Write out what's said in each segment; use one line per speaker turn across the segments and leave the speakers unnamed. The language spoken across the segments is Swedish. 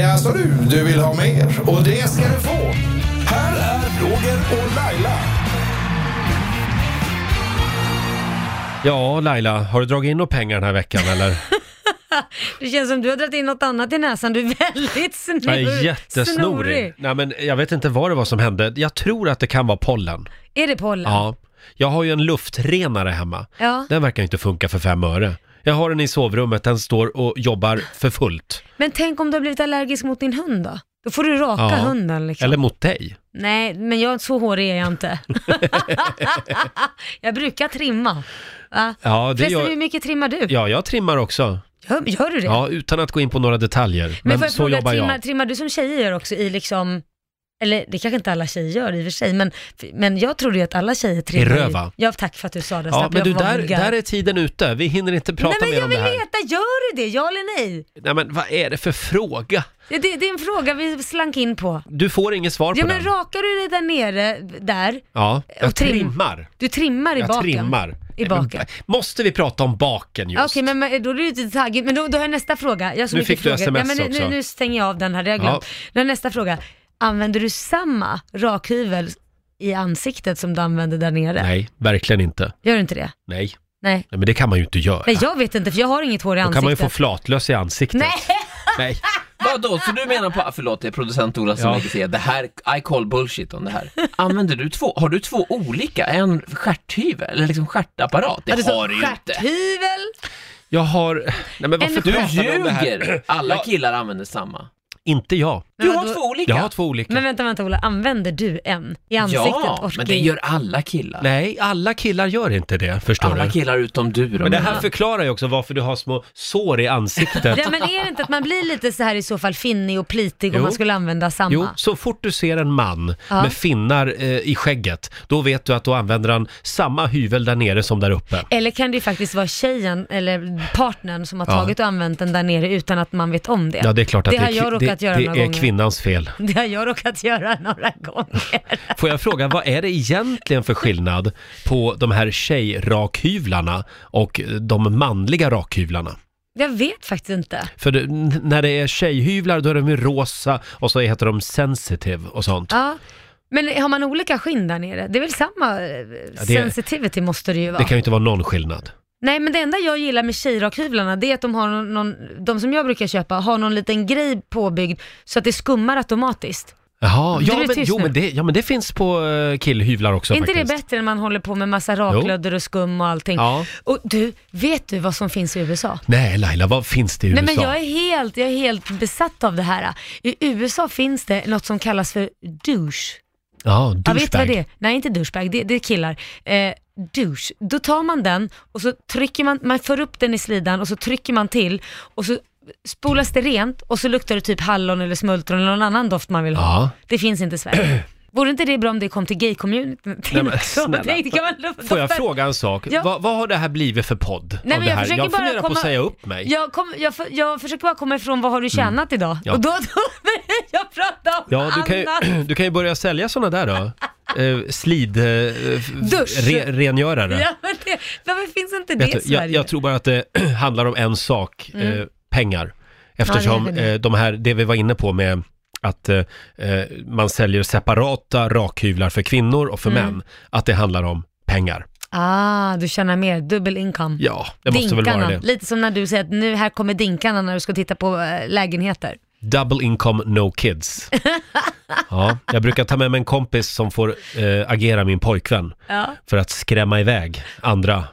Jaså du, du vill ha mer? Och det ska du få. Här är Roger och Laila.
Ja, Laila, har du dragit in några pengar den här veckan eller?
Det känns som du har dragit in något annat i näsan. Du är väldigt snor,
Jag är jättesnorig.
snorig.
Nej, men jag vet inte vad det var som hände. Jag tror att det kan vara pollen.
Är det pollen?
Ja. Jag har ju en luftrenare hemma.
Ja.
Den verkar inte funka för fem öre. Jag har den i sovrummet, den står och jobbar för fullt.
Men tänk om du har blivit allergisk mot din hund då? Då får du raka
Ja.
hunden liksom.
Eller mot dig.
Nej, men jag, så hårig är jag inte. jag brukar trimma. Va?
Ja, det
Förresten,
gör-
hur mycket trimmar du?
Ja, jag trimmar också.
Gör, gör du det?
Ja, utan att gå in på några detaljer. Men,
får jag
så
fråga,
jobbar
trimmar,
jag.
trimmar du som tjejer gör också i liksom, eller det kanske inte alla tjejer gör i och för sig, men, men jag trodde ju att alla tjejer trimmar ju-
röva?
Ja, tack för att du sa det.
Ja,
slapp
men
jag
du,
vara
där,
vulgär.
där är tiden ute. Vi hinner inte prata
Nej men
mer
jag
om det
vill
här.
veta, gör du det? Ja eller nej?
Nej, men vad är det för fråga?
Det, det, det är en fråga vi slank in på.
Du får inget svar
Ja
på
men
den.
rakar du dig där nere, där?
Ja, jag
och trim-
trimmar.
Du trimmar i
Jag
baken?
trimmar.
I
Nej, men
baken.
Måste vi prata om baken
Okej,
just?
men men då är du lite taggig. Men då, då har jag nästa fråga. Jag har så
Nu
mycket
fick du SMS
frågor. ja, men nu,
också.
nu, nu stänger jag av den här, det har jag
Ja.
glömt. Nu har jag nästa fråga. Använder du samma rakhyvel i ansiktet som du använde där nere?
Nej, verkligen inte.
Gör du inte det?
Nej.
Nej.
Nej, men det kan man ju inte göra.
Nej, jag vet inte för jag har inget hår i
Då
ansiktet.
kan man ju få flatlöss i ansiktet.
Nej!
Nej.
Vadå, så du menar på, förlåt det är producent Ola som
Ja.
lägger sig det här, I call bullshit om det här. Använder du två, har du två olika, en stjärthyvel eller liksom stjärtapparat? Det,
Ja, står
har du ju inte.
Stjärthyvel!
Jag har... Nej, men varför
En
Du
pratar vi om det här?
ljuger! Alla
Ja.
killar använder samma.
Inte jag.
Du
Men
har
vadå?
två olika.
Jag har två olika.
Men vänta, vänta Ola, använder du en i ansiktet?
ja,
Orkar
men det
inte.
gör alla killar.
Nej, alla killar gör inte det, förstår
Alla
du.
killar utom du då.
Men det
menar
här
jag.
förklarar ju också varför du har små sår i ansiktet.
Ja, men är det inte att man blir lite så här i så fall finnig och plitig
Jo.
om man skulle använda samma?
Jo, så fort du ser en man
Ja.
med finnar eh, i skägget, då vet du att då använder han samma hyvel där nere som där uppe.
Eller kan det ju faktiskt vara tjejen eller partnern som har
Ja.
tagit och använt den där nere utan att man vet om det.
Ja, det är klart att
Det
det,
har
är,
jag
kvi-
råkat
det,
göra
det
några
är
gånger.
kvinnans fel.
Det har jag råkat göra några gånger.
Får jag fråga, vad är det egentligen för skillnad på de här tjejrakhyvlarna och de manliga rakhyvlarna?
Jag vet faktiskt inte.
För det, n- när det är tjejhyvlar då är de ju rosa och så heter de sensitive och sånt.
Ja. Men har man olika skinn där nere? Det är väl samma eh, sensitivity måste det ju vara.
Det kan ju inte vara någon skillnad.
Nej men det enda jag gillar med tjejrakhyvlarna det är att de har någon, någon, de som jag brukar köpa har någon liten grej påbyggd så att det skummar automatiskt.
Jaha,
Du
ja
blir
men,
tyst
jo,
nu.
men, det, ja, men det finns på eh, killhyvlar också
Är inte det
faktiskt.
bättre när man håller på med massa raklödder och skum och allting?
Ja.
Och du, vet du vad som finns i USA?
Nej Laila, vad finns det i
Nej
USA?
men jag är, helt, jag är helt besatt av det här. I USA finns det något som kallas för douche.
Ja,
Ja, vet du
douchebag.
vad det är? Nej, inte douchebag, det, det är killar. Eh, douche. Då tar man den och så trycker man, man för upp den i slidan och så trycker man till och så spolas det rent och så luktar det typ hallon eller smultron eller någon annan doft man vill ha.
Ja.
Det finns inte i Sverige. Vore inte det bra om det kom till gay-communityn
Nej, men
också?
snälla.
Tänk, det kan man lukta-
Får jag fråga en sak?
Ja.
Vad, vad har det här blivit för podd?
Nej,
av
men
det
jag
här?
försöker
jag
bara
funderar på
komma-
att säga upp mig. Mm.
Jag, kom, jag, för, jag försöker bara komma ifrån vad har du tjänat idag?
Ja.
Och då, då börjar jag prata om
Ja, du kan,
annat.
ju, du kan ju börja sälja såna där då. Eh, slid... Eh,
Dusch.
re, rengörare.
Ja, men det, varför finns inte det
Vet
i
du, jag,
Sverige? Mm.
jag tror bara att det handlar om en sak, eh, pengar. Eftersom
Ja, det är det.
eh, de här, det vi var inne på med att eh, eh, man säljer separata rakhyvlar för kvinnor och
Mm.
för män, att det handlar om pengar.
Ah, du tjänar mer, dubbel income.
Ja, det måste väl vara det.
Lite som när du säger att nu här kommer dinkarna när du ska titta på eh, lägenheter.
Double income, no kids. Ja, jag brukar ta med mig en kompis som får eh, agera min pojkvän
Ja.
för att skrämma iväg andra,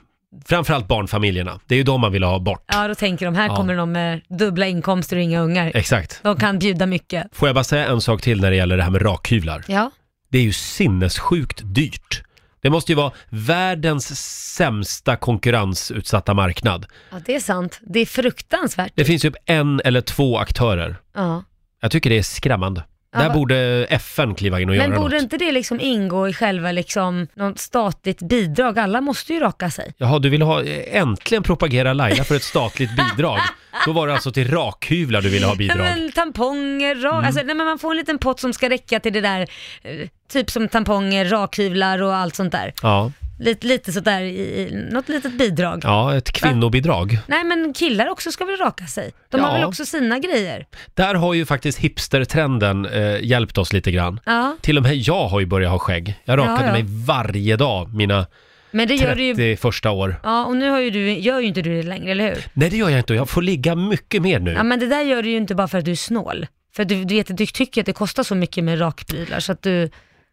framförallt barnfamiljerna. Det är ju de man vill ha bort.
Ja, då tänker de här
Ja.
kommer de med dubbla inkomster och inga ungar.
Exakt.
De kan bjuda mycket.
Får jag bara säga en sak till när det gäller det här med rakhyvlar?
Ja.
Det är ju sinnessjukt dyrt. Det måste ju vara världens sämsta konkurrensutsatta marknad.
ja, det är sant. Det är fruktansvärt.
Det finns ju upp en eller två aktörer.
Ja.
Jag tycker det är skrämmande.
Ja,
Där
va-
borde FN kliva in och
Men
göra
borde
något.
inte det liksom ingå i själva liksom något statligt bidrag? Alla måste ju raka sig.
Jaha, du vill ha, äntligen propagera Laila för ett statligt bidrag. Då var det alltså till rakhyvlar du ville ha
Ja,
bidrag. Mm.
men tamponger, ra- alltså, nej, men man får en liten pott som ska räcka till det där, eh, typ som tamponger, rakhyvlar och allt sånt där.
Ja,
Lite, lite sådär i, i något litet bidrag.
Ja, ett kvinnobidrag.
Nej men killar också ska väl raka sig? De har
Ja.
väl också sina grejer?
Där har ju faktiskt hipstertrenden eh, hjälpt oss lite grann.
Ja,
Till och med jag har ju börjat ha skägg. Jag rakade
Ja, ja.
mig varje dag mina
men det gör du ju.
30 första år.
Ja, och nu har ju du, gör ju inte du det längre, eller hur?
Nej, det gör jag inte. Jag får ligga mycket mer nu.
Ja, men det där gör du ju inte bara för att du är snål. För du, du vet, att du tycker att det kostar så mycket med rakprylar så att du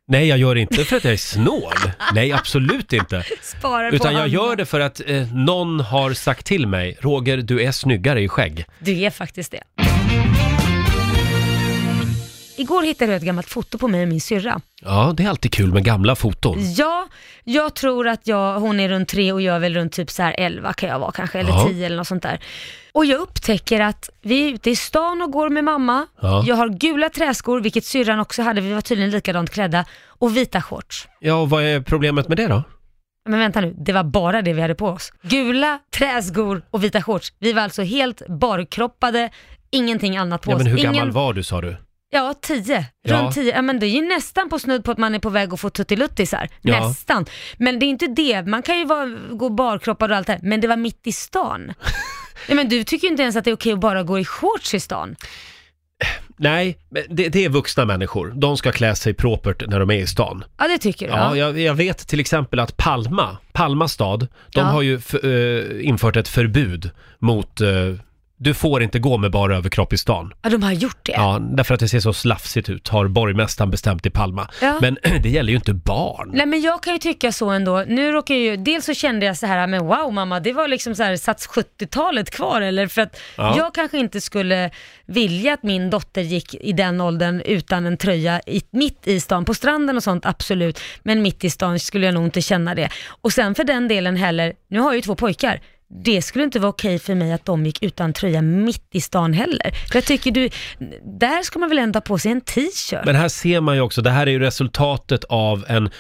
Nej, jag gör det inte för att jag är snål. Nej, absolut inte.
sparar på
Utan jag
andra.
gör det för att eh, någon har sagt till mig, Roger, du är snyggare i skägg.
Du är faktiskt det. Igår hittade jag ett gammalt foto på mig och min syrra.
Ja, det är alltid kul med gamla foton.
Ja, jag tror att jag, hon är runt tre och jag är väl runt typ så här 11 kan jag vara kanske,
Ja.
eller 10 eller något sånt där. Och jag upptäcker att vi är ute i stan och går med mamma.
Ja.
Jag har gula träskor, vilket syrran också hade, vi var tydligen likadant klädda, och vita shorts.
Ja, och vad är problemet med det då?
Men vänta nu, det var bara det vi hade på oss. Gula träskor och vita shorts. Vi var alltså helt barkroppade, ingenting annat på
Ja,
oss.
men hur
Ingen...
gammal var du sa du?
Ja, tio.
Ja.
Runt tio. Ja, men det är ju nästan på snudd på att man är på väg att få tuttiluttisar.
Ja.
Nästan. Men det är inte det. Man kan ju vara, gå barkroppad och allt det här. Men det var mitt i stan. Nej, men du tycker ju inte ens att det är okej att bara gå i shorts i stan.
Nej, men det, det är vuxna människor. De ska klä sig propert när de är i stan.
Ja, det tycker du.
Ja, jag, jag vet till exempel att Palma, Palma stad, de
Ja.
har ju f- eh, infört ett förbud mot eh, du får inte gå med bara överkropp i stan.
Ja, de har gjort det.
Ja, därför att det ser så slafsigt ut, har borgmästaren bestämt i Palma.
Ja.
Men det gäller ju inte barn.
Nej men jag kan ju tycka så ändå. Nu råkar jag ju, dels så kände jag så här, men wow mamma, det var liksom så här, satt 70-talet kvar eller? För att
Ja.
jag kanske inte skulle vilja att min dotter gick i den åldern utan en tröja i, mitt i stan, på stranden och sånt absolut, men mitt i stan skulle jag nog inte känna det. Och sen för den delen heller, nu har jag ju två pojkar, det skulle inte vara okej för mig att de gick utan tröja mitt i stan heller. För jag tycker du, där ska man väl ändå ha på sig en t-shirt?
Men här ser man ju också, det här är ju resultatet av en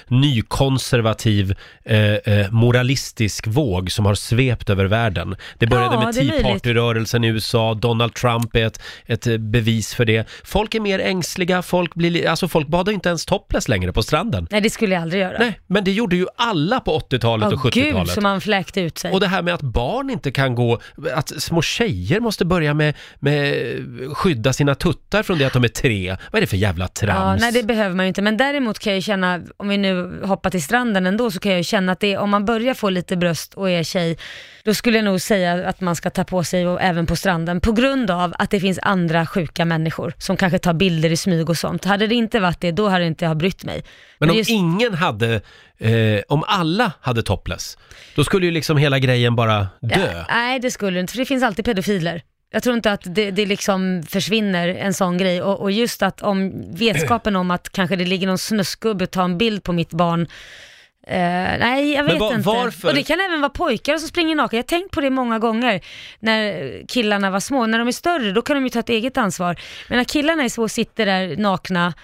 nykonservativ, eh, eh, moralistisk våg som har svept över världen. Det började
Ja,
med
det är
Tea
möjligt.
Party-rörelsen i USA, Donald Trump är ett, ett eh, bevis för det. Folk är mer ängsliga, folk blir, li- alltså folk badar ju inte ens topless längre på stranden.
Nej det skulle jag aldrig göra.
Nej, men det gjorde ju alla på 80-talet och
Ja, gud
70-talet.
som man fläkte ut sig.
Och det här med att barn inte kan gå, att små tjejer måste börja med, med skydda sina tuttar från det att de är tre. Vad är det för jävla
Ja,
trams?
nej det behöver man ju inte, men däremot kan jag ju känna, om vi nu hoppar till stranden ändå, så kan jag ju känna att det, är- om man börjar få lite bröst och är tjej, då skulle jag nog säga att man ska ta på sig och även på stranden, på grund av att det finns andra sjuka människor som kanske tar bilder i smyg och sånt. Hade det inte varit det, då hade inte jag brytt mig.
Men om
just-
ingen hade, eh, om alla hade topless, då skulle ju liksom hela grejen bara dö.
Nej, det skulle du inte, för det finns alltid pedofiler. Jag tror inte att det, det liksom försvinner en sån grej och, och just att om vetskapen om att kanske det ligger någon snuskgubbe och tar en bild på mitt barn. Eh, nej, jag
Men
vet
va-
inte.
varför?
Och det kan även vara pojkar som springer naken. Jag har tänkt på det många gånger när killarna var små. När de är större, då kan de ju ta ett eget ansvar. Men när killarna är så och sitter där nakna,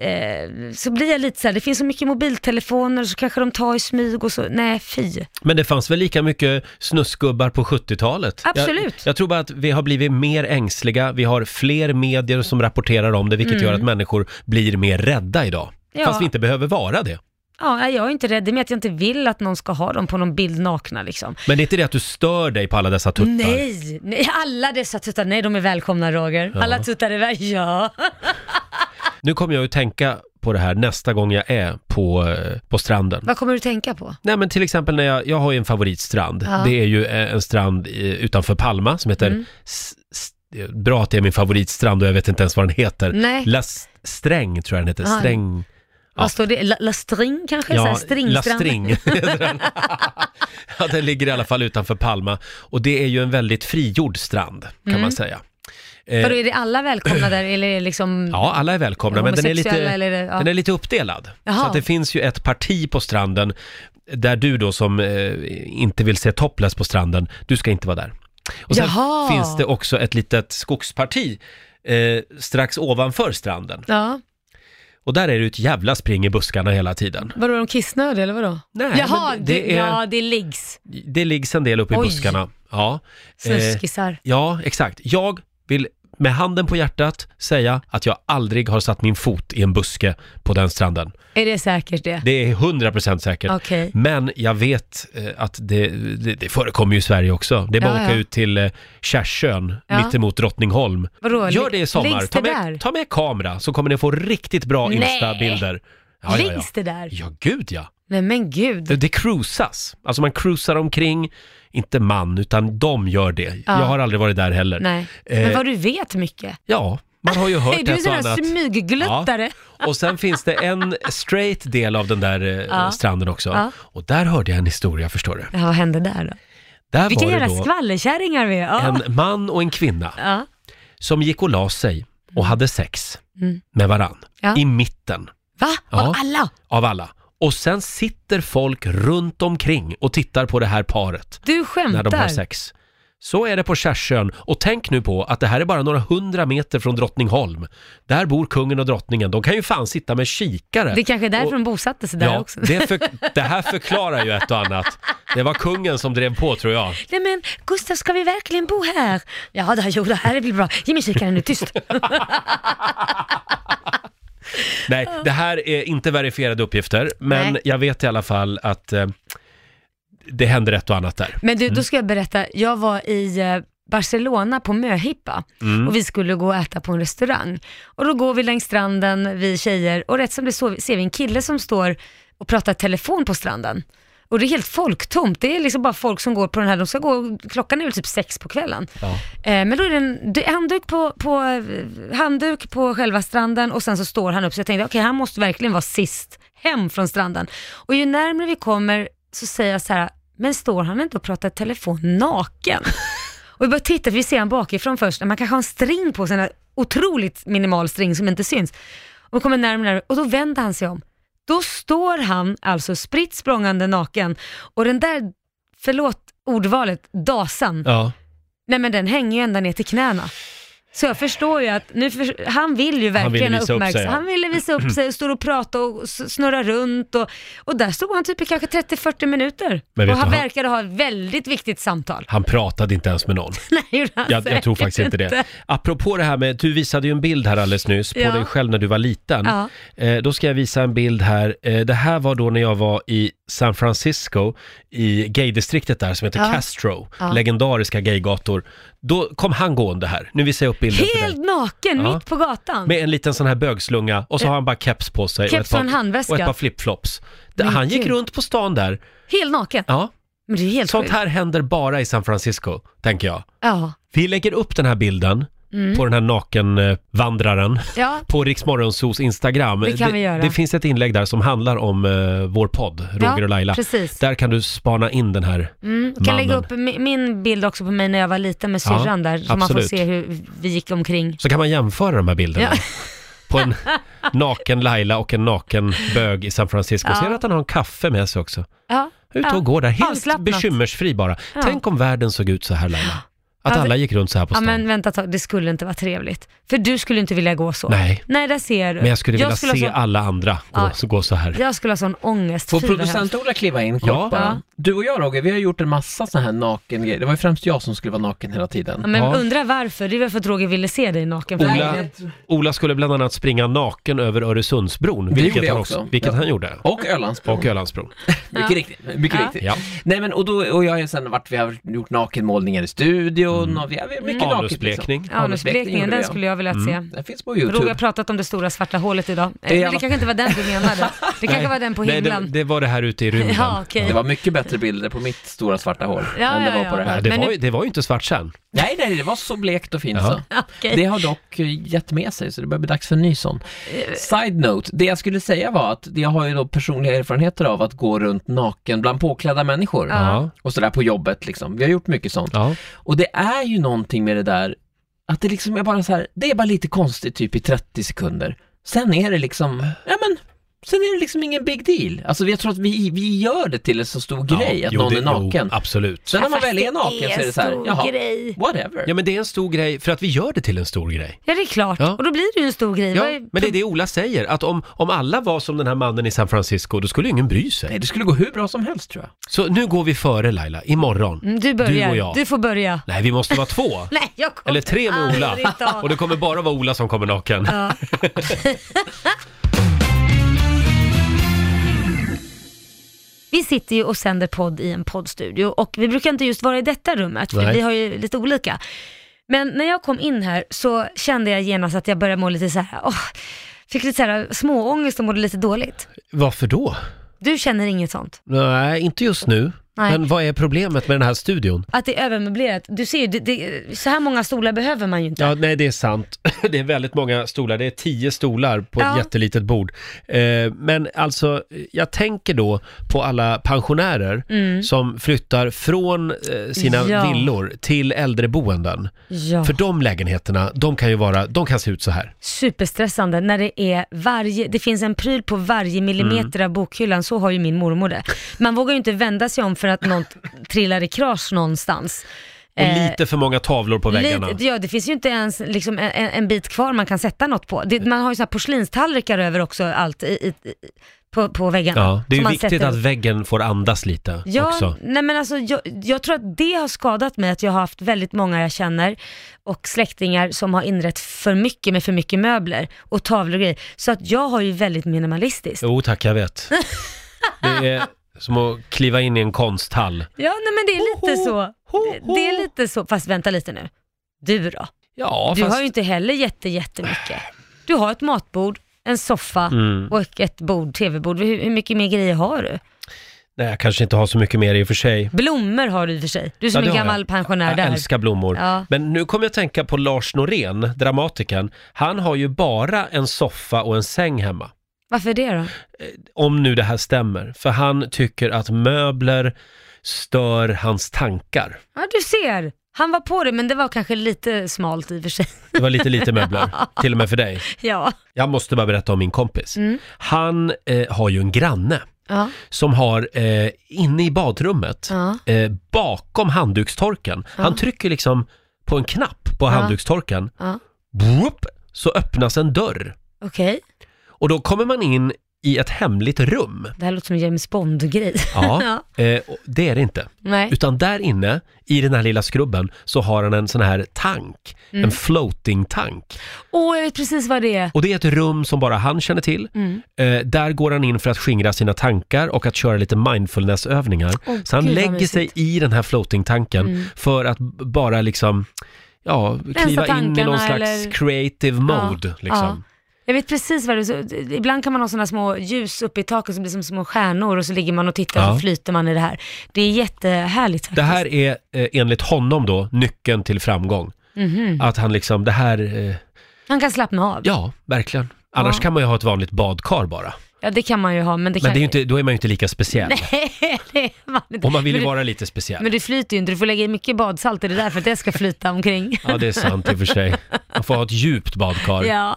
eh, så blir jag lite så här, det finns så mycket mobiltelefoner så kanske de tar i smyg och så. Nej, fy.
Men det fanns väl lika mycket snusgubbar på 70-talet? Jag,
Absolut.
jag tror bara att vi har blivit mer ängsliga, vi har fler medier som rapporterar om det, vilket gör att människor blir mer rädda idag.
Mm. Ja.
Fast vi inte behöver vara det.
Ja, nej, jag är inte rädd. Det är med att jag inte vill att någon ska ha dem på någon bild nakna liksom.
Men det är inte det att du stör dig på alla dessa tuttar?
Nej, nej, alla dessa tuttar, nej de är välkomna Roger. Alla tuttar är väl, ja.
Nu kommer jag att tänka på det här nästa gång jag är på, eh, på stranden.
Vad kommer du tänka på?
Nej men till exempel när jag, jag har ju en favoritstrand.
Ja. Mm.
Det är ju eh, en strand eh, utanför Palma som heter, S- S- det är bra att det är min favoritstrand och jag vet inte ens vad den heter.
Nej.
La S- Sträng tror jag den heter,
Ja.
Sträng.
Vad står det? La, la string kanske? Ja,
La String. heter den. ja, den ligger i alla fall utanför Palma. Och det är ju en väldigt frigjord strand kan
Mm.
man säga. Eh,
Vadå, är det alla välkomna där eller är det liksom...
Ja, alla är välkomna, men den är lite,
Homosexuella eller det- ja.
den är lite uppdelad. Så
Jaha.
att det finns ju ett parti på stranden där du då som eh, inte vill se topless på stranden, du ska inte vara där. Och sen
Jaha.
finns det också ett litet skogsparti eh, strax ovanför stranden.
Ja.
Och där är det ju ett jävla spring i buskarna hela tiden.
Vadå, är de kissnödiga eller vadå?
Nej,
Jaha,
men
det,
det är- Eh.
ja det är liggs.
Det liggs en del uppe i
Oj.
buskarna. Ja. Eh,
Snuskisar.
ja, exakt. Jag vill med handen på hjärtat säga att jag aldrig har satt min fot i en buske på den stranden.
Är det säkert det?
Det är 100% säkert.
Okej.
Men jag vet eh, att det, det, det förekommer ju i Sverige också. Det är bara
Ja,
att åka
ja.
ut till eh, Kärsön,
Ja.
mittemot Drottningholm.
Vadå?
Gör det i sommar.
Läggs
Ta
det
med,
där?
ta med kamera så kommer ni få riktigt bra
Nej.
Insta-bilder. Ja, ja, ja.
Liggs det där?
ja, gud ja.
Nej men gud.
Det, det cruisas. Alltså man cruisar omkring, inte man, utan de gör det.
Ja.
Jag har aldrig varit där heller.
Nej.
Eh,
Men vad du vet mycket.
Ja, man har ju hört
Är du en
ett
sån
och
där
annat.
smyggluttare?
Och sen finns det en straight del av den där eh,
Ja.
stranden också.
Ja.
Och där hörde jag en historia, förstår du.
Ja, vad hände där då?
Där
Vilka
var det
jävla
då
skvallerkärringar vi är. Ja.
en man och en kvinna
Ja.
som gick och la sig och hade sex
Mm.
med varann
Ja.
i mitten
Va?
Ja.
Av alla?
av alla. Och sen sitter folk runt omkring och tittar på det här paret
Du
när de har
skämtar?
sex. Så är det på Kärsön och tänk nu på att det här är bara några hundra meter från Drottningholm. Där bor kungen och drottningen. De kan ju fan sitta med kikare.
Det är kanske är därför
Och-
de bosatte sig där
ja,
också.
Det, för, det här förklarar ju ett och annat. Det var kungen som drev på tror jag.
Nej men Gustav, ska vi verkligen bo här? Ja, det, jo, det här blir bra. Ge mig kikaren nu, tyst.
Nej, det här är inte verifierade uppgifter, men
Nej.
jag vet i alla fall att eh, det händer ett och annat där.
Men du, då ska jag berätta. Jag var i eh, Barcelona på möhippa
Mm.
och vi skulle gå och äta på en restaurang. Och då går vi längs stranden, vi tjejer, och rätt som det är så ser vi en kille som står och pratar telefon på stranden. Och det är helt folktomt, det är liksom bara folk som går på den här, de ska gå, klockan är väl typ sex på kvällen.
Ja.
Eh, men då är det en d- handduk på, på, eh, handduk på själva stranden och sen så står han upp. Så jag tänkte, okej han måste verkligen vara sist hem från stranden. Och ju närmare vi kommer så säger jag så här, men står han inte och pratar telefon naken? och vi bara tittar, för vi ser han bakifrån först. Man kanske har en string på sig, en otroligt minimal string som inte syns. Och vi kommer närmare och närmare och då vänder han sig om. Då står han alltså spritt språngande naken och den där, förlåt ordvalet, dasan
Ja.
Nej men den hänger ju ända ner till knäna. Så jag förstår ju att nu för, han vill ju
Han ville
verkligen ha
visa upp sig,
uppmärksamhet.
ja.
Han ville visa upp sig och står och pratar och s- snurrar runt och, och där stod han typ i kanske 30-40 minuter.
Men vet
och
du,
han
han-
verkade ha ett väldigt viktigt samtal.
Han pratade inte ens med någon.
Nej, gjorde han
Jag, jag tror
säkert
faktiskt inte det. Apropå det här med, du visade ju en bild här alldeles nyss på
Ja.
dig själv när du var liten.
Ja.
Eh, då ska jag visa en bild här. Eh, det här var då när jag var i San Francisco, i gaydistriktet där som heter
Ja.
Castro,
Ja.
legendariska gaygator. Då kom han gående här, nu visar jag upp bilden för dig.
Helt naken
Ja.
mitt på gatan.
Med en liten sån här bögslunga och så har han bara keps på sig.
Keps och en handväska.
Och ett par flipflops. Det-
Men
Han gick
gud.
runt på stan där.
Helt naken.
Ja,
Men det är helt
sånt
sjukt.
här händer bara i San Francisco, tänker jag.
Ja.
Vi lägger upp den här bilden
Mm.
på den här nakenvandraren
ja,
på Riksmorgonsos Instagram.
Det kan vi göra.
Det, finns ett inlägg där som handlar om eh, vår podd, Roger
Ja,
och Laila.
precis.
Där kan du spana in den här.
Mm, kan lägga
mannen.
upp mi- min bild också på mig när jag var liten med
Ja,
syrran där, så man får
absolut.
se hur vi gick omkring.
Så kan man jämföra de här bilderna.
Ja.
På en naken Laila och en naken bög i San Francisco.
Ja.
Ser du att han har en kaffe med sig också?
Ja.
Ut och
Ja,
går där, helt
avslappnat.
bekymmersfri bara.
Ja.
Tänk om världen såg ut så här Laila. Att
Ja,
alla gick runt så här på
Ja
stan.
men vänta ett tag, det skulle inte vara trevligt. För du skulle inte vilja gå så.
Nej,
Nej där ser du.
men jag skulle vilja se
ha sån,
alla andra gå,
Ja.
gå så här.
Jag skulle ha sån ångest.
Får
Fy, vad hemskt.
producent-Ola kliva in kort
Ja.
bara?
Ja.
Du och jag Roger, vi har gjort en massa sådana här naken grejer. Det var ju främst jag som skulle vara naken hela tiden.
Ja, men
Ja.
undra varför, det är väl för att Roger ville se dig naken.
Ola-
Nej, det-
Ola skulle bland annat springa naken över Öresundsbron, vilket,
gjorde jag
han,
också.
också. vilket
Ja.
han gjorde.
Och Ölandsbron.
Och Ölandsbron.
Mycket riktigt. Mycket
Ja.
riktigt.
Ja.
Nej men och, då, och jag har ju sen varit, vi har gjort nakenmålningar i studion och vi har vi har mycket naket liksom.
Mm. Anusblekning.
Anusblekningen, den skulle jag vilja
Mm.
se.
Den finns på
Roger
Eh, YouTube.
har pratat om det stora svarta hålet idag.
är
Eller det
alla-
kanske inte var den du menade. Det kanske var den på
Nej,
himlen.
det, det var det här ute i rymden.
Ja, okej.
Det var mycket bättre bilder på mitt stora svarta hål
Ja,
än det
ja,
var
ja.
på det
Ja,
här.
det,
Men
var,
nu-
ju- det var ju inte svart sen.
Nej, nej, det var så blekt och fint
Ja.
så.
Okej.
Det har dock eh, gett med sig, så det börjar bli dags för en ny sån.
Eh.
Side note, det jag skulle säga var att jag har ju då personliga erfarenheter av att gå runt naken bland påklädda människor.
Ja.
Och sådär på jobbet liksom. Vi har gjort mycket sånt.
Ja.
Och det är ju någonting med det där, att det liksom är bara så här, det är bara lite konstigt typ i 30 sekunder. Sen är det liksom, ja men, Sen är det liksom ingen big deal. Alltså jag tror att vi, vi gör det till en så stor grej att
jo,
någon
det-
är naken.
Jo, absolut.
Sen när man
Fast
väl
det
är naken så är det så här,
stor
jaha,
grej.
whatever.
Ja men det är en stor grej för att vi gör det till en stor grej.
Ja det är klart,
Ja.
och då blir det ju en stor grej.
Ja,
Vad är-
men det är det Ola säger, att om, om alla var som den här mannen i San Francisco, då skulle ingen bry sig.
Nej, det skulle gå hur bra som helst tror jag.
Så nu går vi före Laila, imorgon.
Mm, Du börjar,
Du
du,
och jag.
får börja.
Nej, vi måste vara två.
Nej, jag kommer
Eller tre med Ola.
aldrig ta-
Och det kommer bara vara Ola som kommer naken.
Ja. Vi sitter ju och sänder podd i en poddstudio och vi brukar inte just vara i detta rummet för
Nej.
vi har ju lite olika. Men när jag kom in här så kände jag genast att jag började må lite så här, åh, fick lite så här småångest och mådde lite dåligt.
Varför då?
Du känner inget sånt?
Nej, inte just nu.
Nej.
Men vad är problemet med den här studion?
Att det är övermöblerat? Du ser ju, det, det, så här många stolar behöver man ju inte.
Ja, nej det är sant. Det är väldigt många stolar. Det är tio stolar på ett
Ja.
jättelitet bord. Eh, men alltså, jag tänker då på alla pensionärer som flyttar från eh, sina
Mm. Ja.
villor till äldreboenden.
Ja.
För de lägenheterna, de kan ju vara, de kan se ut så här.
superstressande när det är varje, det finns en pryl på varje
Mm.
millimeter av bokhyllan, så har ju min mormor det. Man vågar ju inte vända sig om för att något trillar i kras någonstans.
Och lite för många tavlor på väggarna.
Eh, Lite- ja, det finns ju inte ens liksom, en, en- en bit kvar man kan sätta något på. Det, man har ju såna här porslinstallrikar över också, allt i, i, i, på, på väggarna.
Ja, det är
Som
ju
man
viktigt
sätter-
att väggen får andas lite
Ja,
också.
nej men alltså, jag, jag tror att det har skadat mig att jag har haft väldigt många jag känner och släktingar som har inrett för mycket med för mycket möbler och tavlor och grejer. Så att jag har ju väldigt minimalistiskt.
Jo tack, jag vet. Det är som att kliva in i en konsthall.
Ja, nej men det är lite så.
ho, ho.
Det, det är lite så, fast vänta lite nu. Du då?
Ja,
Du
fast...
har ju inte heller jätte, jättemycket. Du har ett matbord, en soffa
Mm.
och ett bord, tv-bord. Hur, hur mycket mer grejer har du?
Nej, jag kanske inte har så mycket mer i och för sig.
Blommor har du i och för sig. Du är
Ja,
som
det
en
har
gammal
jag.
pensionär
Jag
där.
älskar blommor.
Ja.
Men nu kommer jag tänka på Lars Norén, dramatikern. Han har ju bara en soffa och en säng hemma.
Varför det då?
Om nu det här stämmer. För han tycker att möbler stör hans tankar.
Ja, du ser. Han var på det, men det var kanske lite smalt i och för sig.
Det var lite lite möbler, till och med för dig.
Ja.
Jag måste bara berätta om min kompis.
Mm.
Han eh, har ju en granne
Ja.
som har eh, inne i badrummet,
Ja.
eh, bakom handdukstorken, han trycker liksom på en knapp på handdukstorken.
Ja.
Whoop, så öppnas en dörr
Okej,
och då kommer man in i ett hemligt rum.
det här låter som en James Bond-grej.
Ja, eh, och det är det inte.
Nej.
Utan där inne, i den här lilla skrubben, så har han en sån här tank, en floating tank.
Åh, jag vet precis vad det är.
Och det är ett rum som bara han känner till.
Mm.
Eh, där går han in för att skingra sina tankar och att köra lite mindfulnessövningar.
Åh,
så han
gud, vad
lägger
mysigt. Mm.
sig i den här floatingtanken för att b- bara liksom, ja, kliva in i någon
tankarna
slags
eller-
creative mode. Liksom.
Ja. Jag vet precis vad det är. Så, d- ibland kan man ha sådana små ljus uppe i taket som blir som små stjärnor och så ligger man och tittar
Ja.
och så flyter man i det här. Det är jättehärligt faktiskt.
Det här är eh, enligt honom då nyckeln till framgång.
Mhm.
Att han liksom, det här, eh,
Man kan slappna av. Ja.
ja, verkligen. Annars
Ja.
kan man ju ha ett vanligt badkar bara.
det kan man ju ha, men det
Men
kan
det är ju inte, då är man ju inte lika speciell.
det är man inte.
Och man vill ju
men,
vara lite speciell.
du, men du flyter ju inte, du får lägga i mycket badsalt i det där för att det ska flyta omkring.
Ja, det är sant i och för sig. Man får ha ett djupt badkar.
ja.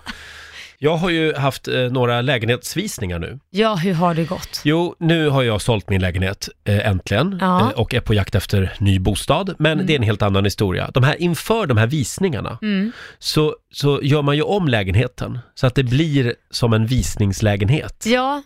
Jag har ju haft eh, några lägenhetsvisningar nu.
ja, hur har det gått?
Jo, nu har jag sålt min lägenhet eh, äntligen
Ja. Mm.
eh, och är på jakt efter ny bostad. Men det är en helt annan historia. De här, inför de här visningarna
Mm.
så, så gör man ju om lägenheten så att det blir som en visningslägenhet.
Ja,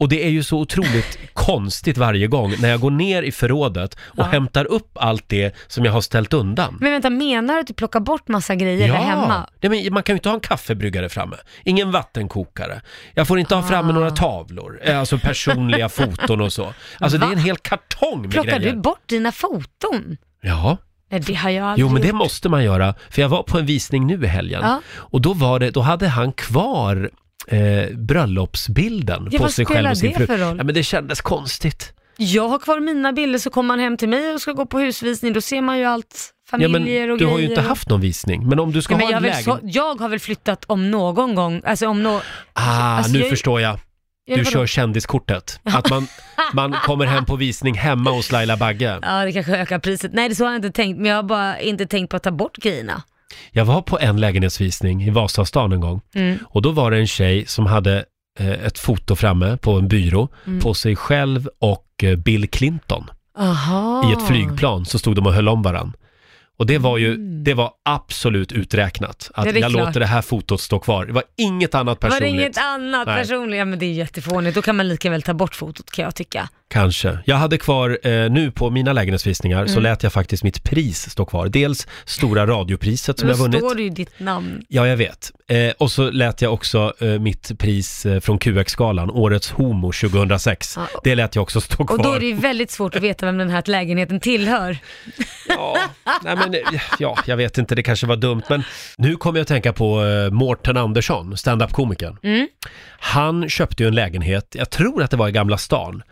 Och det är ju så otroligt konstigt varje gång när jag går ner i förrådet och hämtar upp allt det som jag har ställt undan.
Men vänta, menar du att du plockar bort massa grejer där hemma?
Nej, men man kan ju inte ha en kaffebryggare framme, ingen vattenkokare. Jag får inte ha framme
Ah.
några tavlor, eh, alltså personliga foton och så. Alltså det är en hel kartong med
Plockar
grejer.
du bort dina foton?
Ja,
Nej, det har jag aldrig
jo men det
gjort.
måste man göra. För jag var på en visning nu i helgen
Ja.
och då, var det, då hade han kvar Eh, bröllopsbilden
Ja,
på
vad
sig själv
spelar
och sin
det
fru.
för roll?
Ja, men det kändes konstigt.
Jag har kvar mina bilder, så kommer man hem till mig och ska gå på husvisning, då ser man ju allt.
Ja,
Familjer
men
och grejer.
du har ju inte
och-
haft någon visning. Men om du ska
Nej, men
ha
jag,
en
har väl
lägenhet...
så, jag har väl flyttat om någon gång, alltså om nå...
Ah,
Alltså,
nu
jag-
förstår jag.
Ja,
Du
vadå?
kör kändiskortet. Att man, man kommer hem på visning hemma hos Laila Bagge.
Ja, det kanske ökar priset. Nej, det så har jag inte tänkt, men jag har bara inte tänkt på att ta bort grejerna.
Mm. Jag var på en lägenhetsvisning i Vasastan en gång. Och då var det en tjej som hade eh, ett foto framme på en byrå
Mm.
på sig själv och eh, Bill Clinton
Aha.
i ett flygplan så stod de och höll om varann. Och det var ju,
Mm.
det var absolut uträknat. Att
Ja, det är
jag
klart.
låter det här fotot stå kvar. Det var inget annat
Var
personligt.
det inget annat
Nej.
personligt? Ja men det är jättefånigt, då kan man lika väl ta bort fotot kan jag tycka.
Kanske. Jag hade kvar, eh, nu på mina lägenhetsvisningar,
Mm.
så lät jag faktiskt mitt pris stå kvar. Dels stora radiopriset som
Då
jag vunnit.
står det ju ditt namn.
Ja, jag vet. Eh, och så lät jag också eh, mitt pris eh, från QX-galan, Årets Homo 2006.
Ja.
Det lät jag också stå kvar.
Och då är det ju väldigt svårt att veta vem den här lägenheten tillhör.
Ja, nej men, eh, ja, jag vet inte, det kanske var dumt, men nu kommer jag att tänka på eh, Mårten Andersson, standup-komikern.
Mm.
Han köpte ju en lägenhet, jag tror att det var i Gamla stan,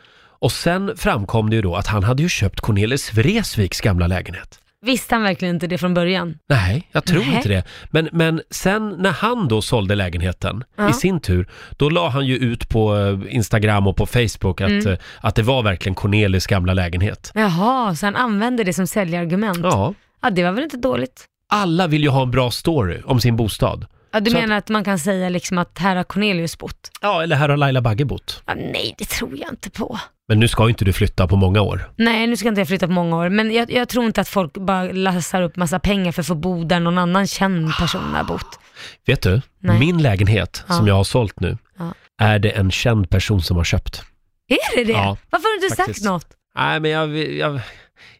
och sen framkom det ju då att han hade ju köpt Cornelis Vreeswijks gamla lägenhet.
Visste han verkligen inte det från början?
Nej, jag tror
Nej.
inte det. Men, men sen när han då sålde lägenheten
Ja.
i sin tur, då la han ju ut på eh, Instagram och på Facebook att,
Mm.
eh, att det var verkligen Cornelis gamla lägenhet.
Jaha, så han använde det som säljargument?
Ja,
Ja, det var väl inte dåligt?
alla vill ju ha en bra story om sin bostad.
Ja, du
Så
menar att... man kan säga liksom att här har Cornelius bott?
Ja, eller här har Laila Bagge bott.
Ja, nej, det tror jag inte på.
Men nu ska ju inte du flytta på många år.
Nej, nu ska inte jag flytta på många år, men jag, jag tror inte att folk bara lassar upp massa pengar för att få bo där någon annan känd person har bott.
Vet du,
Nej.
min lägenhet
Ja.
som jag har sålt nu
Ja.
är det en känd person som har köpt.
Är det det?
Ja,
Varför har du inte
faktiskt.
sagt något?
Nej, men jag, vill- jag,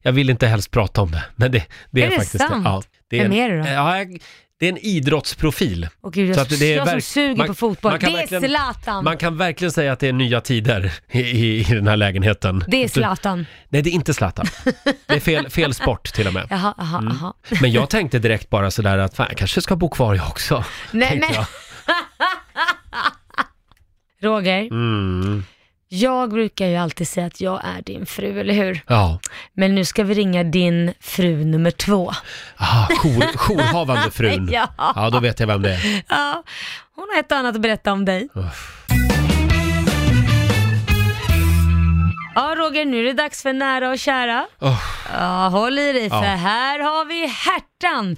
jag vill inte helst prata om det. Men det, det är,
Är det
faktiskt
sant?
Ja, det
Vem
en-
är det då?
Ja, jag- det är en idrottsprofil.
Åh gud, jag,
Så att det är
jag som
verk-
suger
man-
på fotboll.
man kan
Det är
verkligen-
Zlatan.
Man kan verkligen säga att det är nya tider i, i, i den här lägenheten.
Det är
Du-
Zlatan.
Nej, det är inte Zlatan. Det är fel, fel sport till och med.
Jaha, jaha,
Mm.
jaha.
Men jag tänkte direkt bara sådär att fan, jag kanske ska bo kvar jag också.
Nej,
tänkte
men
jag.
Roger,
Mm,
jag brukar ju alltid säga att jag är din fru, eller hur?
ja.
Men nu ska vi ringa din fru nummer två.
Ah, jour, jourhavande frun.
Ja.
ja, då vet jag vem det är.
Ja, hon har ett och annat att berätta om dig.
Uff.
Ja, Roger, nu är det dags för nära och kära.
Åh,
Ja, håll i dig, för
Ja.
här har vi Hertan.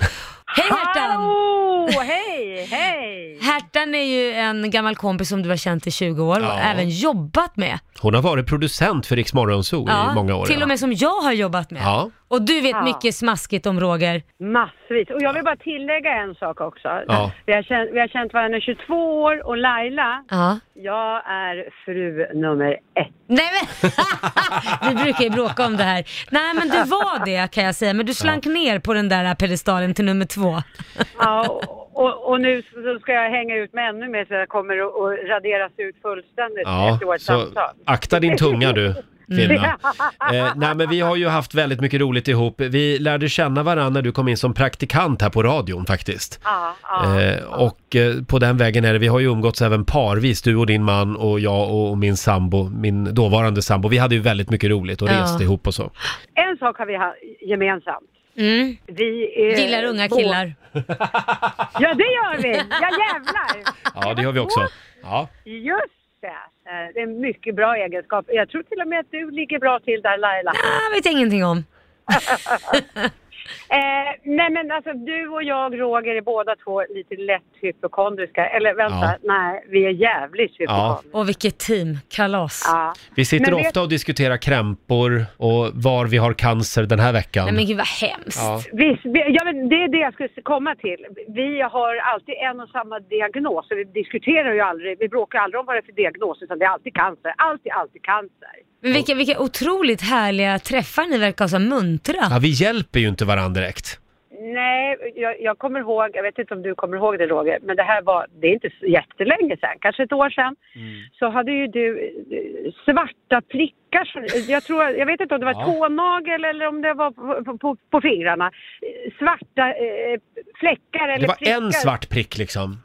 Hej Hertan!
Hallå! Hej, hej!
Hertan är ju en gammal kompis som du har känt i 20 år och
Ja.
även jobbat med.
Hon har varit producent för Rix Morgonzoo i många år.
till
ja.
och med som jag har jobbat med.
Ja.
Och du vet
Ja.
mycket smaskigt om Roger.
Massvis. Och jag vill bara tillägga en sak också.
Ja.
Vi, har känt, vi har känt varandra i 22 år och Laila,
Ja.
jag är fru nummer ett.
Nej men, vi brukar ju bråka om det här. Nej men du var det kan jag säga, men du slank ner på den där pedestalen till nummer två.
Ja, och, och, och nu så ska jag hänga ut med ännu mer så jag kommer att att raderas ut fullständigt
Ja,
efter vårt
så
samtal.
akta din tunga du, kvinna. Eh, nej, men vi har ju haft väldigt mycket roligt ihop. Vi lärde känna varandra när du kom in som praktikant här på radion faktiskt.
Ja, ja.
Eh, och eh, på den vägen är det. Vi har ju umgåtts även parvis, du och din man och jag och, och min sambo, min dåvarande sambo. Vi hade ju väldigt mycket roligt och
Ja.
reste ihop och så.
En sak har vi ha, gemensamt.
Mm.
Vi är
Gillar unga
bå-
killar.
Ja, det gör vi! Ja, jävlar!
Ja, det gör vi också. Ja.
Just det. Eh, Det är en mycket bra egenskap. Jag tror till och med att du ligger bra till där Laila.
Ah, vet jag ingenting om.
Eh, nej men alltså du och jag Roger är båda två lite lätt hypokondriska. Eller vänta,
Ja.
nej vi är jävligt hypokondriska.
Och vilket team, kalas.
Ja.
Vi sitter
Men vet-
ofta och diskuterar krämpor och var vi har cancer den här
Nej
veckan.
men gud vad hemskt.
Ja.
Vi, vi, ja, men det är det jag skulle komma till. Vi har alltid en och samma diagnos. Så vi diskuterar ju aldrig, vi bråkar aldrig om vad det är för diagnos utan det är alltid cancer. Alltid, alltid cancer.
Men vilka, vilka otroligt härliga träffar ni verkar ha så muntra.
Ja, vi hjälper ju inte varandra direkt.
Nej, jag, jag kommer ihåg, jag vet inte om du kommer ihåg det Roger, men det här var, det är inte så jättelänge sedan, kanske ett år sedan,
Mm.
så hade ju du eh, svarta prickar, som- jag, tror, jag vet inte om det var
Ja.
tånagel eller om det var på, på, på, på fingrarna, Eh, svarta eh, fläckar eller
Det var
prickar.
en svart prick liksom.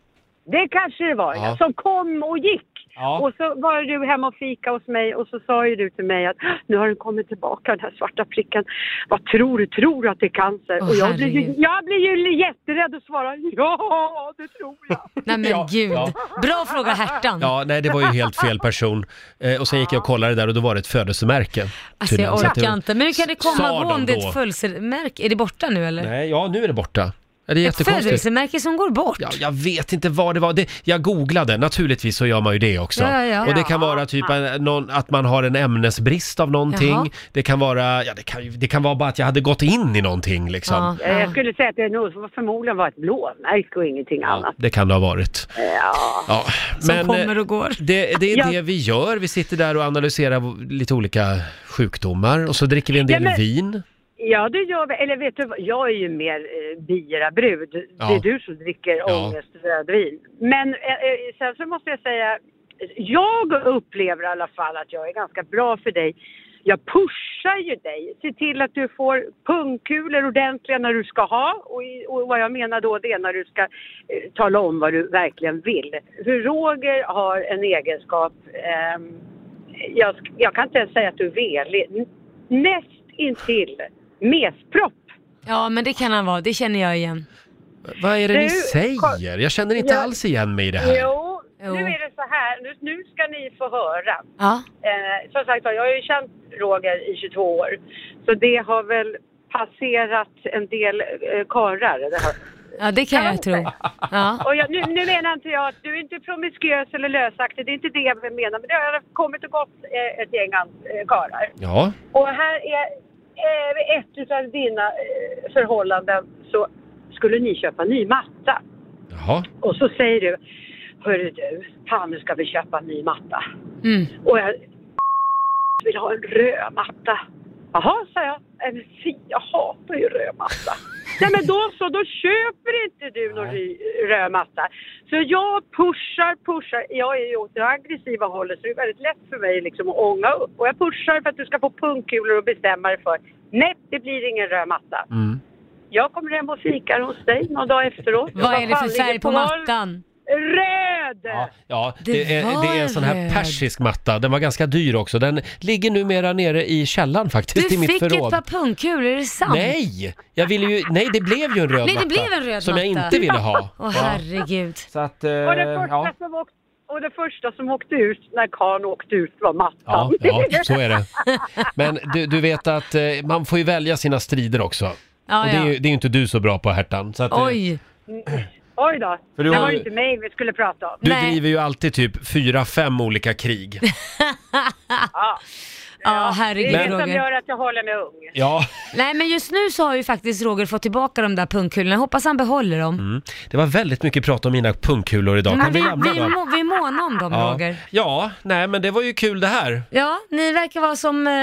Det kanske det var,
Ja.
ja. som kom och gick.
Ja.
Och så var du hemma och fika hos mig och så sa ju du till mig att "Hå, nu har den kommit tillbaka den här svarta pricken. Vad tror du? Tror du att det är cancer?
Åh,
och jag blir, ju,
herregud.
jag blir ju jätterädd och svarar ja, det tror jag.
Nej men
Ja,
gud.
ja.
Bra fråga Hertan.
Ja, nej det var ju helt fel person. Eh, och sen gick jag och kollade där och då var det ett födelsemärke.
Alltså
tydligen.
jag
Så att det
orkar
var-
inte. Men hur kan det
Sa
komma
de
igång? Det är
då?
ett födelsemärke. Är det borta nu eller?
Nej, ja nu är det borta. Ja, det är
Ett
jättekonstigt.
födelsemärke som går bort.
Ja, jag vet inte vad det var. Det, jag googlade, naturligtvis så gör man ju det också.
Ja, ja, ja.
Och det kan vara typ en, någon, att man har en ämnesbrist av någonting.
Jaha.
Det kan vara, ja det kan, ju- det kan vara bara att jag hade gått in i någonting liksom.
Ja,
Eh, Jag, jag skulle säga att det nog förmodligen var ett blåmärke och ingenting
Ja,
annat.
det kan det ha varit.
Ja.
Ja.
Som
eh,
kommer och går.
Det, det är
Ja.
det vi gör. Vi sitter där och analyserar v- lite olika sjukdomar och så dricker vi en del
Ja, men-
vin.
ja, det gör vi. Eller vet du vad? jag är ju mer eh, birabrud.
Ja.
Det är du som dricker
Ja.
ångest och rödvin. Men eh, eh, sen så måste jag säga, jag upplever i alla fall att jag är ganska bra för dig. Jag pushar ju dig. Se till att du får pungkulor ordentliga när du ska ha. Och, i, och vad jag menar då det är när du ska eh, tala om vad du verkligen vill. För Roger har en egenskap, ehm, jag, sk- jag kan inte ens säga att du är velig, N- näst intill mespropp.
Ja, men det kan han vara. Det känner jag igen.
Vad är det ni
Du, kom-
säger? Jag känner inte
Ja.
alls igen mig i det här.
Jo,
Jo.
nu är det så här, nu, nu ska ni få höra.
Ja.
Eh, som sagt var, jag har ju känt Roger i 22 år. Så det har väl passerat en del eh, karlar. Det här.
ja, det kan jag tro. Ja.
Och jag, nu, nu menar inte jag att du är inte promiskuös eller lösaktig, det är inte det jag menar. Men det har kommit och gått eh, ett gäng eh, karlar.
Ja,
Och här är eh, ett utav dina eh, förhållanden så skulle ni köpa ny matta.
jaha.
Och så säger du, hörru du, fan nu ska vi köpa ny matta.
Mm.
Och jag vill ha en röd matta. Jaha, sa jag. "Nej, Men fy, jag hatar ju röd matta. Nej men då så, då köper inte du någon ry- röd matta. Så jag pushar, pushar. Jag är ju åt det aggressiva hållet så det är väldigt lätt för mig liksom att ånga upp. Och jag pushar för att du ska få pungkulor och bestämma dig för. Nej, det blir ingen röd matta.
Mm.
Jag kommer hem och fikar hos dig någon dag efteråt.
Vad är det
Fan,
för färg
ligger
på
noll.
mattan?
Röd!
Ja, ja det,
Det
är, det är en sån
var
här
röd.
persisk matta. Den var ganska dyr också. Den ligger numera nere i källaren faktiskt, i
Du
mitt
fick ett
förråd.
par pungkulor, är det sant?
Nej! Jag ville ju, nej, det blev ju en röd
Nej, det
matta.
blev en röd
Som jag
matta.
inte ville ha.
Åh herregud.
Så att, eh,
Och det, första
ja.
som åkte, och det första som åkte ut när karln åkte ut var
Ja,
mattan.
ja, så är det. Men du, du vet att eh, man får ju välja sina strider också.
Ja,
Och det är, ju,
ja.
det är ju inte du så bra på Hertan. Så att, eh,
Oj.
Oj då,
För du
det
har-
var ju inte mig vi skulle prata om.
Du
Nej.
driver ju alltid typ fyra, fem olika krig.
Ja.
Ja,
Det
herregud
är det som
Roger.
gör att jag håller mig ung.
Ja,
Nej, men just nu så har ju faktiskt Roger fått tillbaka de där pungkulorna. Jag Hoppas han behåller dem.
det var väldigt mycket prat om mina pungkulor idag. Mm. Kan
Men
vi lämna
vi, vi,
dem?
må, vi är måna om dem
Ja.
Roger.
ja, nej men det var ju kul det här.
Ja, ni verkar vara som, eh,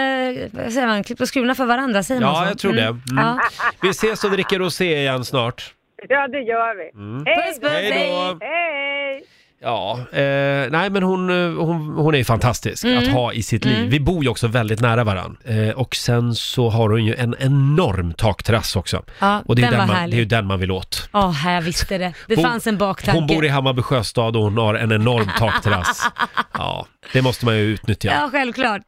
vad säger man, klippt och skurna för varandra, säger man
Ja,
så?
jag tror det. Mm.
Ja.
Vi ses och dricker rosé igen snart.
Ja, det gör vi. Hej
Mm.
Puss,
då!
puss.
Hej då!
Hej!
Ja, eh, nej men hon, eh, hon, hon är ju fantastisk att
Mm.
ha i sitt liv. Vi bor ju också väldigt nära varann. Eh, och sen så har hon ju en enorm takterrass också.
Ja,
och det är,
den
den
var
man,
härlig.
det är ju den man vill åt.
Åh, här visste det. Det
Hon-
fanns en baktanke.
Hon bor i Hammarby sjöstad och hon har en enorm takterrass. Ja, det måste man ju utnyttja.
Ja, självklart.